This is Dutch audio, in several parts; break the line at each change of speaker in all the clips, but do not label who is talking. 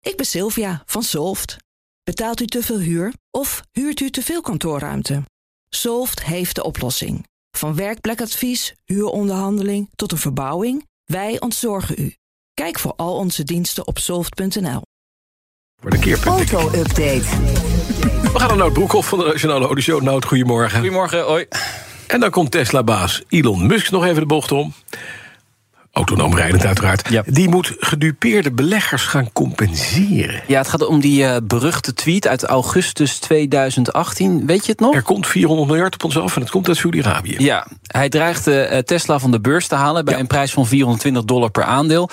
Ik ben Sylvia van Solft. Betaalt u te veel huur of huurt u te veel kantoorruimte? Solft heeft de oplossing. Van werkplekadvies, huuronderhandeling tot een verbouwing, wij ontzorgen u. Kijk voor al onze diensten op soft.nl.
Voor de keerpunt. denk ik.
Auto-update.
We gaan naar Nout Broekhoff van de Nationale Audio. Nout, goedemorgen.
Goedemorgen, hoi.
En dan komt Tesla-baas Elon Musk nog even de bocht om. Autonoom rijdend uiteraard.
Ja.
Die moet gedupeerde beleggers gaan compenseren.
Ja, het gaat om die eh, beruchte tweet uit augustus 2018. Weet je het nog?
Er komt 400 miljard op ons af en het komt uit Saudi-Arabië.
Ja, hij dreigde eh, Tesla van de beurs te halen bij
Ja.
een prijs van 420 dollar per aandeel.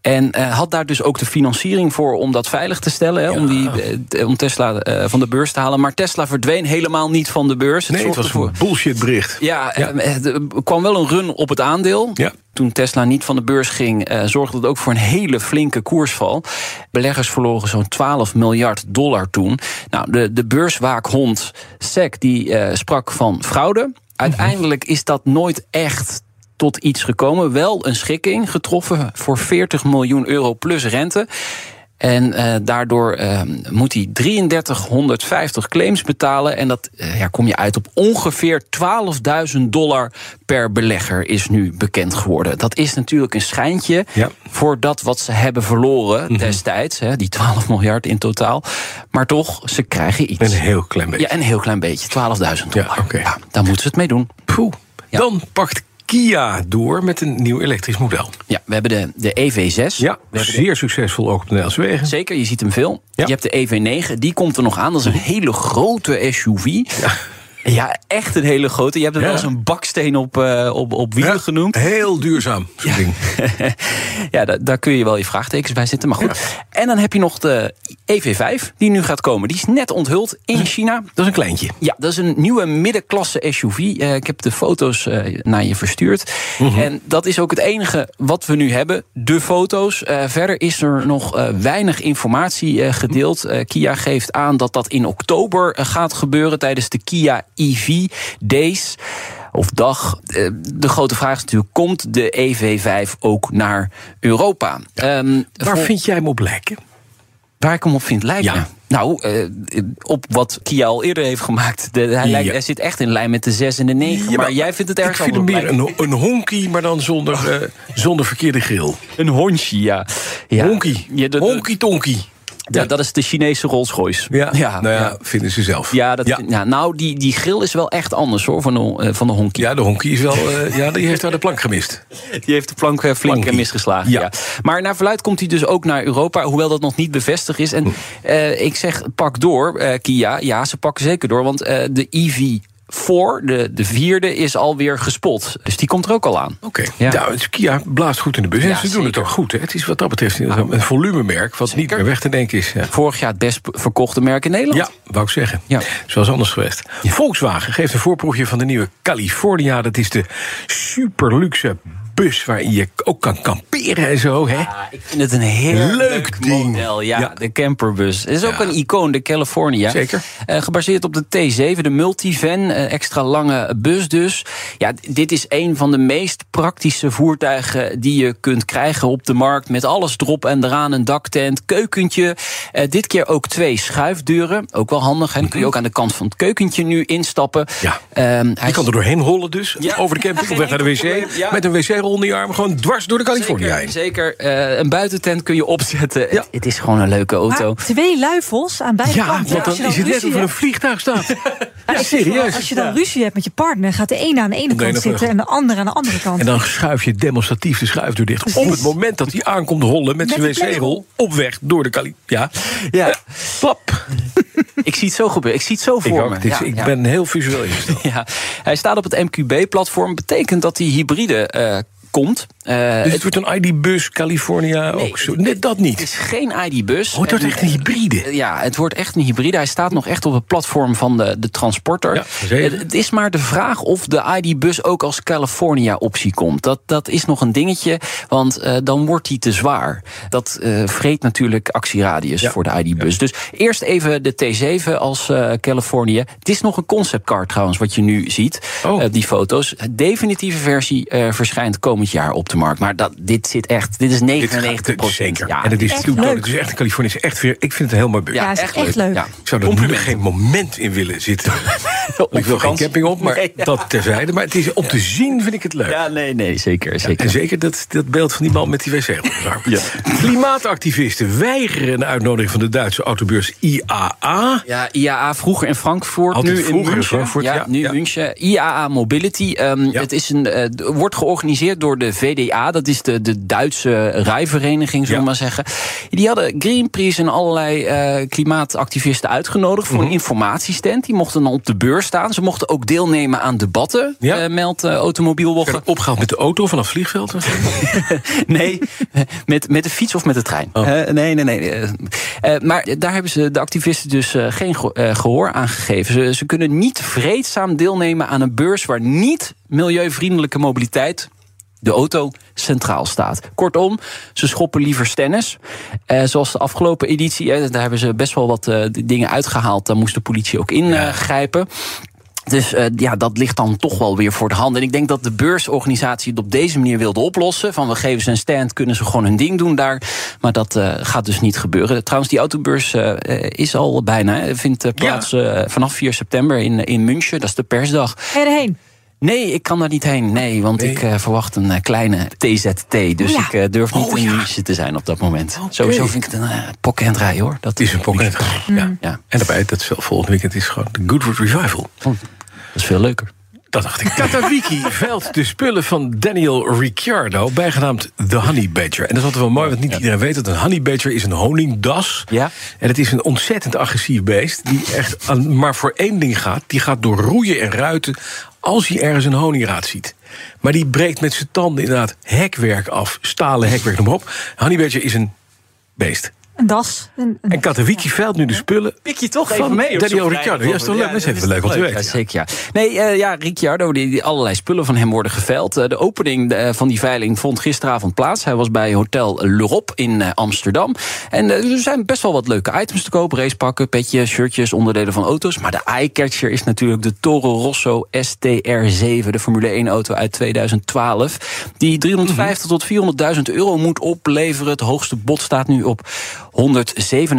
En eh, had daar dus ook de financiering voor om dat veilig te stellen. Hè, om, die, eh, t- om Tesla eh, van de beurs te halen. Maar Tesla verdween helemaal niet van de beurs.
Nee, het
zorgde
was
voor-
een bullshit bericht.
Ja,
Ja.
eh, eh, er kwam wel een run op het aandeel.
Ja.
Toen Tesla niet van de beurs ging, eh, zorgde dat ook voor een hele flinke koersval. Beleggers verloren zo'n 12 miljard dollar toen. Nou, de, de beurswaakhond SEC die eh, sprak van fraude. Uiteindelijk is dat nooit echt tot iets gekomen. Wel een schikking getroffen voor 40 miljoen euro plus rente. En eh, daardoor eh, moet hij 3350 claims betalen. En dat eh, ja, kom je uit op ongeveer 12.000 dollar per belegger, is nu bekend geworden. Dat is natuurlijk een schijntje
Ja. Mhm.
voor dat wat ze hebben verloren destijds. Hè, die 12 miljard in totaal. Maar toch, ze krijgen
Een
iets.
heel klein beetje.
Ja, een heel klein beetje. 12.000 dollar.
Ja, oké.
Ja, daar moeten ze het mee doen.
Poeh.
Ja.
Dan pakt Kia door met een nieuw elektrisch model.
Ja, we hebben de, de E EV6.
Ja, zeer succesvol ook op de Nederlandse wegen.
Zeker, je ziet hem veel.
Ja.
Je hebt de EV9, die komt er nog aan. Dat is een hele grote SUV. Ja, echt een hele grote. Je hebt er
Ja.
wel eens een baksteen op, eh, op, op wielen
Ja,
genoemd.
Heel duurzaam. zo'n ding.
ja, daar, daar kun je wel je vraagtekens bij zitten, maar goed. En dan heb je nog de EV5, die nu gaat komen. Die is net onthuld in China.
Dat is een kleintje.
Ja, dat is een nieuwe middenklasse SUV. Eh, ik heb de foto's eh, naar je verstuurd. En dat is ook het enige wat we nu hebben. De foto's. Eh, verder is er nog eh, weinig informatie eh, gedeeld. Eh, Kia geeft aan dat dat in oktober eh, gaat gebeuren tijdens de Kia EV Days. Of dag. Eh, de grote vraag is natuurlijk: komt de EV5 ook naar Europa? Ehm,
Waar
vol-
vind jij hem op lijken?
Waar ik hem op vind lijken?
Ja.
Nou, eh, op wat Kia al eerder heeft gemaakt. De, hij,
Ja.
lijkt, hij zit echt in lijn met de 6 en de 9. maar, jij vindt het erg
Ik vind hem meer een, een honkie, maar dan zonder, eh, zonder verkeerde grill.
een hondje, ja. ja.
Honkie.
Ja, dat-
honkie tonkie.
ja, dat is de Chinese Rolls-Royce.
Ja,
ja,
nou ja,
ja.
vinden ze zelf.
Ja, dat,
ja.
ja, nou, die, die grill is wel echt anders hoor, van de, eh, van de honkie.
Ja, de honkie is wel, eh, ja, die heeft daar de plank gemist.
Die heeft de plank eh, flink
Plankie.
eh, misgeslagen.
Ja.
Ja. Maar naar verluid komt hij dus ook naar Europa, hoewel dat nog niet bevestigd is. En eh, ik zeg, pak door, eh, Kia. Ja, ze pakken zeker door, want eh, de EV... 4, de, de vierde, is alweer gespot. Dus die komt er ook al aan.
Oké,
Ja.
nou, het- Kia blaast goed in de bus. en
Ja,
ze doen het
zeker. Ah.
ook goed. Hè? Het is wat dat betreft een volumemerk wat niet meer weg te denken is. Ja.
Vorig jaar het best verkochte merk in Nederland.
Ja, wou ik zeggen.
Ja.
Zoals anders geweest. Volkswagen geeft een voorproefje van de nieuwe California. Dat is de superluxe bus waarin je ook kan kamperen en zo. Hè?
Ah, ik vind het een heel
Leuk
leuk,
ding.
model. Ja,
Ja.
de camperbus. Het is ook
Ja.
een icoon, de California.
Zeker.
Eh, gebaseerd op de T7, de multivan. eh, extra lange bus dus. Ja, d- dit is een van de meest praktische voertuigen die je kunt krijgen op de markt. Met alles erop en eraan. Een daktent, keukentje. Eh, dit keer ook twee schuifdeuren. Ook wel handig. hè. Dan kun je ook aan de kant van het keukentje nu instappen.
Mhm. Ja.
Ehm, hij
Je kan er doorheen rollen dus.
Ja.
Over de camping, op weg naar de
Geen enkel
wc.
probleem, ja.
Met een wc-rol onder je arm. Gewoon dwars door de California
Zeker,
heen.
zeker. Eh, een buitentent kun je opzetten. Het, het is gewoon een leuke auto.
Maar twee luifels aan beide
Ja,
kanten.
want
Als je
dan is het net
ruzie
of er een
hebt-
vliegtuig staat.
als
Ja,
je- Als
serieus.
je dan ruzie hebt met je partner, gaat de ene aan de ene
ene
kant
vlucht.
zitten en de andere aan de andere kant.
En dan schuif je demonstratief de schuifdeur dicht. Op
Precies.
het moment dat hij aankomt rollen met
Met
zijn
de plegel.
wc-rol. Op weg door de California. Ja.
Ja.
Eh, Plap.
Ik zie het zo gebeuren. Ik zie het zo voor
Ik, ook.
me.
Dit is-
Ja,
ik
ja.
ben heel visueel ingesteld.
Ja. Hij staat op het MQB-platform. Betekent dat hij hybride eh, komt. Eh,
Dus
het
het wordt een ID-bus, California ook zo. Net dat
het is
niet.
geen ID-bus.
Oh, dat is echt een hybride.
Ja, het wordt echt een hybride. Hij staat nog echt op het platform van de, de transporter.
Ja, zeker.
het, het is maar de vraag of de ID-bus ook als California-optie komt. Dat, dat is nog een dingetje, want eh, dan wordt die te zwaar. Dat eh, vreet natuurlijk actieradius
Ja.
voor de ID-bus. Dus eerst even de T7 als eh California. Het is nog een conceptcar trouwens, wat je nu ziet,
Oh.
eh, die foto's. De definitieve versie eh, verschijnt komend komend jaar op de markt. Maar dat, dit zit echt, dit is 99
Dit gaat- zeker.
Ja,
en het is
echt
toe-
leuk.
Het is echt een Californisch. Echt weer, ik vind het helemaal leuk.
Ja, is echt leuk.
Ja.
Ik zou er nu geen moment in willen zitten. ik wil geen
vakantie.
camping op, maar
Nee, ja.
dat terzijde. Maar het is, om te zien vind ik het leuk.
ja, nee, nee, zeker. zeker.
En zeker dat, dat beeld van die man met die wc op de arm. Klimaatactivisten weigeren een uitnodiging van de Duitse autobeurs IAA.
Ja, IAA vroeger in Frankfurt,
Altijd
nu in
vroeger in
München.
Frankfurt,
ja,
ja,
nu
ja.
München. IAA Mobility. ehm,
Ja.
Het is een, eh, d- wordt georganiseerd door de VDA. Dat is de, de Duitse rijvereniging, zullen we
Ja.
maar zeggen. Die hadden Greenpeace en allerlei eh, klimaatactivisten uitgenodigd... voor
Mhm.
een informatiestand. Die mochten dan op de beurs staan. Ze mochten ook deelnemen aan debatten,
Ja.
eh, meldt eh, Automobielwoche.
Werden opgehaald met de auto vanaf het vliegveld.
Nee, met, met de fiets of met de trein.
Oh.
Eh, nee, nee, nee. eh, eh, maar daar hebben ze de activisten dus eh, geen ge- eh, gehoor aan gegeven. Ze, ze kunnen niet vreedzaam deelnemen aan een beurs waar niet milieuvriendelijke mobiliteit. De auto centraal staat. Kortom, ze schoppen liever stennis. Eh, zoals de afgelopen editie, eh, daar hebben ze best wel wat eh, d- dingen uitgehaald. Daar moest de politie ook eh, ingrijpen. Dus eh, ja, dat ligt dan toch wel weer voor de hand. En ik denk dat de beursorganisatie het op deze manier wilde oplossen. Van we geven ze een stand, kunnen ze gewoon hun ding doen daar. Maar dat eh, gaat dus niet gebeuren. Trouwens, die autobeurs eh, eh, is al bijna. hè. Vindt eh, plaats eh, vanaf 4 september in, eh, in München. Dat is de persdag.
Ga je erheen?
Nee, ik kan daar niet heen. Nee, want ik eh, verwacht een eh, kleine TZT. Dus
Ja.
ik eh, durf niet
Oh,
in
ja.
München te zijn op dat moment. Sowieso vind ik het een eh pokken en draai hoor. Dat
Het is een pocket. Ja.
Ja,
En daarbij, dat is wel volgende weekend, is gewoon de Goodwood Revival.
dat is veel leuker.
Dat dacht ik. Katawiki veilt de spullen van Daniel Ricciardo, bijgenaamd The Honey Badger. En dat is altijd wel mooi, want niet iedereen weet dat een honey badger is een honingdas.
Ja.
En het is een ontzettend agressief beest die echt aan- maar voor één ding gaat. Die gaat door roeien en ruiten als hij ergens een honingraad ziet. Maar die breekt met zijn tanden inderdaad hekwerk af, stalen hekwerk, noem maar op. Honey badger is een beest.
Een das? Een, een-
En Katawiki veilt nu de spullen.
Pik je toch
even mee op zo'n vrije vlogger.
Ja, is toch
Ja,
leuk? Dat is even leuk om te weten.
ja.
zeker, ja. Nee, eh, ja, Ricciardo, die, die allerlei spullen van hem worden geveild. Eh, de opening eh, van die veiling vond gisteravond plaats. Hij was bij Hotel L'Europe in eh, Amsterdam. En eh, er zijn best wel wat leuke items te koop. Racepakken, petje, shirtjes, onderdelen van auto's. Maar de eyecatcher is natuurlijk de Toro Rosso STR7. De Formule 1-auto uit 2012. Die 350 tot 400.000 euro moet opleveren. Het hoogste bod staat nu op 167.500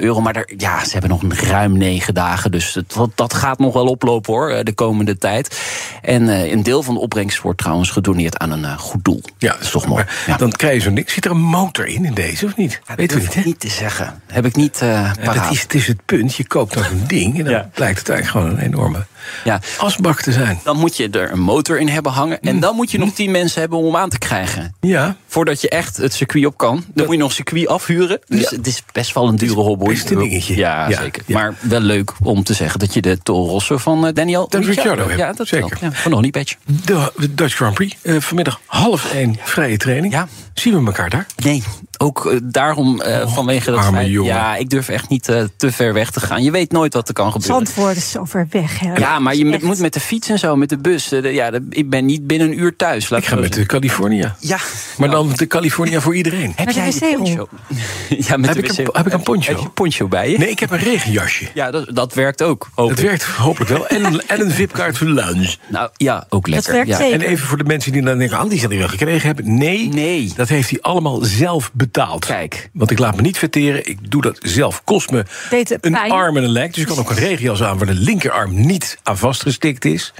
euro. Maar daar, ja, ze hebben nog een ruim negen dagen. Dus het- dat, dat gaat nog wel oplopen hoor, eh, de komende tijd. En eh, een deel van de opbrengst wordt trouwens gedoneerd aan een eh, goed doel. dat is toch mooi.
maar
Ja.
Dan krijg je zo'n ding. Zit er een motor in in deze of niet?
Ja,
Weet we
durf
niet,
ik
hè?
niet te zeggen. Heb ik niet eh
Ja,
paraat.
dat is, het is het punt. Je koopt dan zo'n ding en dan
Ja.
blijkt het eigenlijk gewoon een enorme
Ja.
asbak te zijn.
Dan moet je er een motor in hebben hangen. En
Mm.
dan moet je nog 10 mensen hebben om hem aan te krijgen.
Ja,
Voordat je echt het circuit op kan. Dan moet je nog een circuit afhuren. Dus het is best wel een dure hobby.
best een dingetje.
Ja,
Ja,
zeker.
ja.
Maar wel leuk om te zeggen dat je de Toro Rosso van eh, Daniel
Dat Ricciardo hebt,
Ja, dat wel.
zeker.
Ja, van Honey Badge.
de Dutch Grand Prix. eh, vanmiddag half één vrije training.
Ja.
Zien we elkaar daar?
Nee, ook eh, daarom eh, vanwege dat
arme
feit-
jongen.
Ja, ik durf echt niet eh, te ver weg te gaan. Je weet nooit wat er kan gebeuren.
Zandvoort is zo ver weg. Hè?
Ja, maar je
Echt.
moet met de fiets en zo, met de bus. eh, de- ja, de- ik ben niet binnen een uur thuis. Laat
Ik ga
zo
met de California.
zeggen. Ja.
Maar dan de California voor iedereen.
Heb
Met de
jij die
wc-rol.
poncho? Ja, met
Heb
de
ik een
wc-rol.
po- heb ik een poncho?
Heb je een poncho bij je?
Nee, ik heb een regenjasje.
Ja, dat, dat werkt ook. hoop
Dat
ik.
werkt hopelijk wel. En, een- en een VIP-kaart voor lunch.
Nou ja, ook lekker.
werkt
ja.
zeker.
En even voor de mensen die dan denken, ah, die zal hij wel gekregen hebben. Nee,
Nee.
dat heeft hij allemaal zelf betaald.
Kijk.
Want ik laat me niet verteren, ik doe dat zelf. Kost me
Deed het
een
pijn?
arm en een lijk. Dus ik kan ook een regenjas aan waar de linkerarm niet aan vastgestikt is.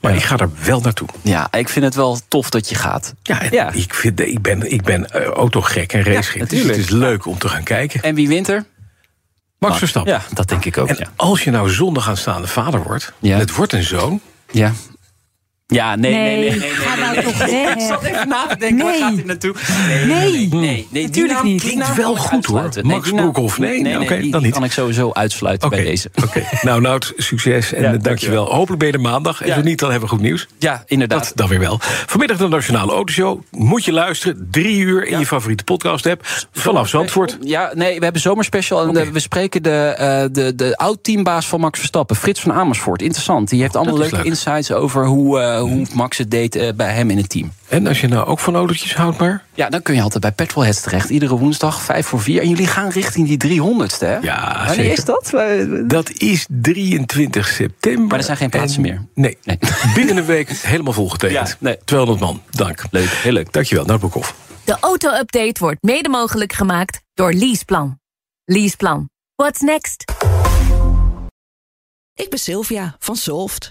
Maar ik ga er wel naartoe.
Ja, ik vind het wel tof dat je gaat.
Ja, en
Ja.
Ik, vind, ik ben, ik ben eh, autogek en racegek. dus het
natuurlijk.
is leuk om te gaan kijken.
En wie wint er?
Max Verstappen.
Ja, dat denk ik ook.
Oh. En
ja.
als je nou zondag aanstaande vader wordt,
Ja.
en het wordt een zoon,
ja. Ja, nee, nee, nee.
Nee,
nee, nee,
ga
nee,
nou
nee.
toch weg.
Ik zat even na te denken, waar
Nee.
gaat dit naartoe? Nee,
Nee.
nee, nee, nee.
Natuurlijk
die naam-
niet.
die
Klinkt
naam
wel
kan
goed,
ik
hoor.
uitsluiten.
Max
die naam-
Broekhoff, nee, nee, oké,
die
dan niet.
kan ik sowieso uitsluiten
Oké,
bij deze.
Oké. Nou, Nout, succes en
Ja,
eh,
dankjewel.
dankjewel. Hopelijk ben je er maandag. En
Ja.
zo niet, dan hebben we goed nieuws.
Ja, inderdaad.
Dat dan weer wel. Vanmiddag de Nationale Autoshow. Moet je luisteren. Drie uur in je favoriete podcast-app. Vanaf Zandvoort.
Ja, nee, we hebben zomerspecial. En eh, we spreken de, eh, de, de oud-teambaas van Max Verstappen, Frits van Amersfoort. Interessant. Die heeft allemaal
Oh, dat is
leuke
leuk.
insights over hoe, eh, eh, hoe Max het deed eh, bij hem in het team.
En als je nou ook van autootjes houdt, maar...
Ja, dan kun je altijd bij Petrolheads terecht. Iedere woensdag, vijf voor vier. En jullie gaan richting die 300ste, hè?
Ja,
Wanneer
zeker.
is dat? Eh,
Dat is 23 september.
Maar er zijn geen plaatsen
En-
meer.
Nee.
Nee.
Binnen een week helemaal volgetekend.
Ja, nee.
200 man. Dank.
Leuk, heel leuk.
Dankjewel, Nou, Noutboekhoff.
De auto-update wordt mede mogelijk gemaakt door Leaseplan. Leaseplan. What's next?
Ik ben Sylvia van Solft.